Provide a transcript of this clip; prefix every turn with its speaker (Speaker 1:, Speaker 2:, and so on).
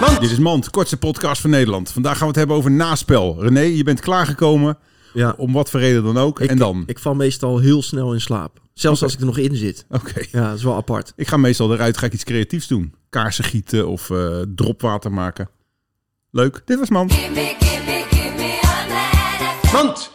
Speaker 1: Mand. Dit is Mand, kortste podcast van Nederland. Vandaag gaan we het hebben over naspel. René, je bent klaargekomen,
Speaker 2: Ja,
Speaker 1: om wat voor reden dan ook.
Speaker 2: ik,
Speaker 1: en dan?
Speaker 2: Ik val meestal heel snel in slaap. Zelfs
Speaker 1: Oké.
Speaker 2: als ik er nog in zit.
Speaker 1: Oké.
Speaker 2: Ja, dat is wel apart.
Speaker 1: Ik ga meestal eruit, ga ik iets creatiefs doen. Kaarsen gieten of eh, dropwater maken. Leuk, dit was Mand.
Speaker 3: Gimme, gimme, gimme a man.
Speaker 2: Want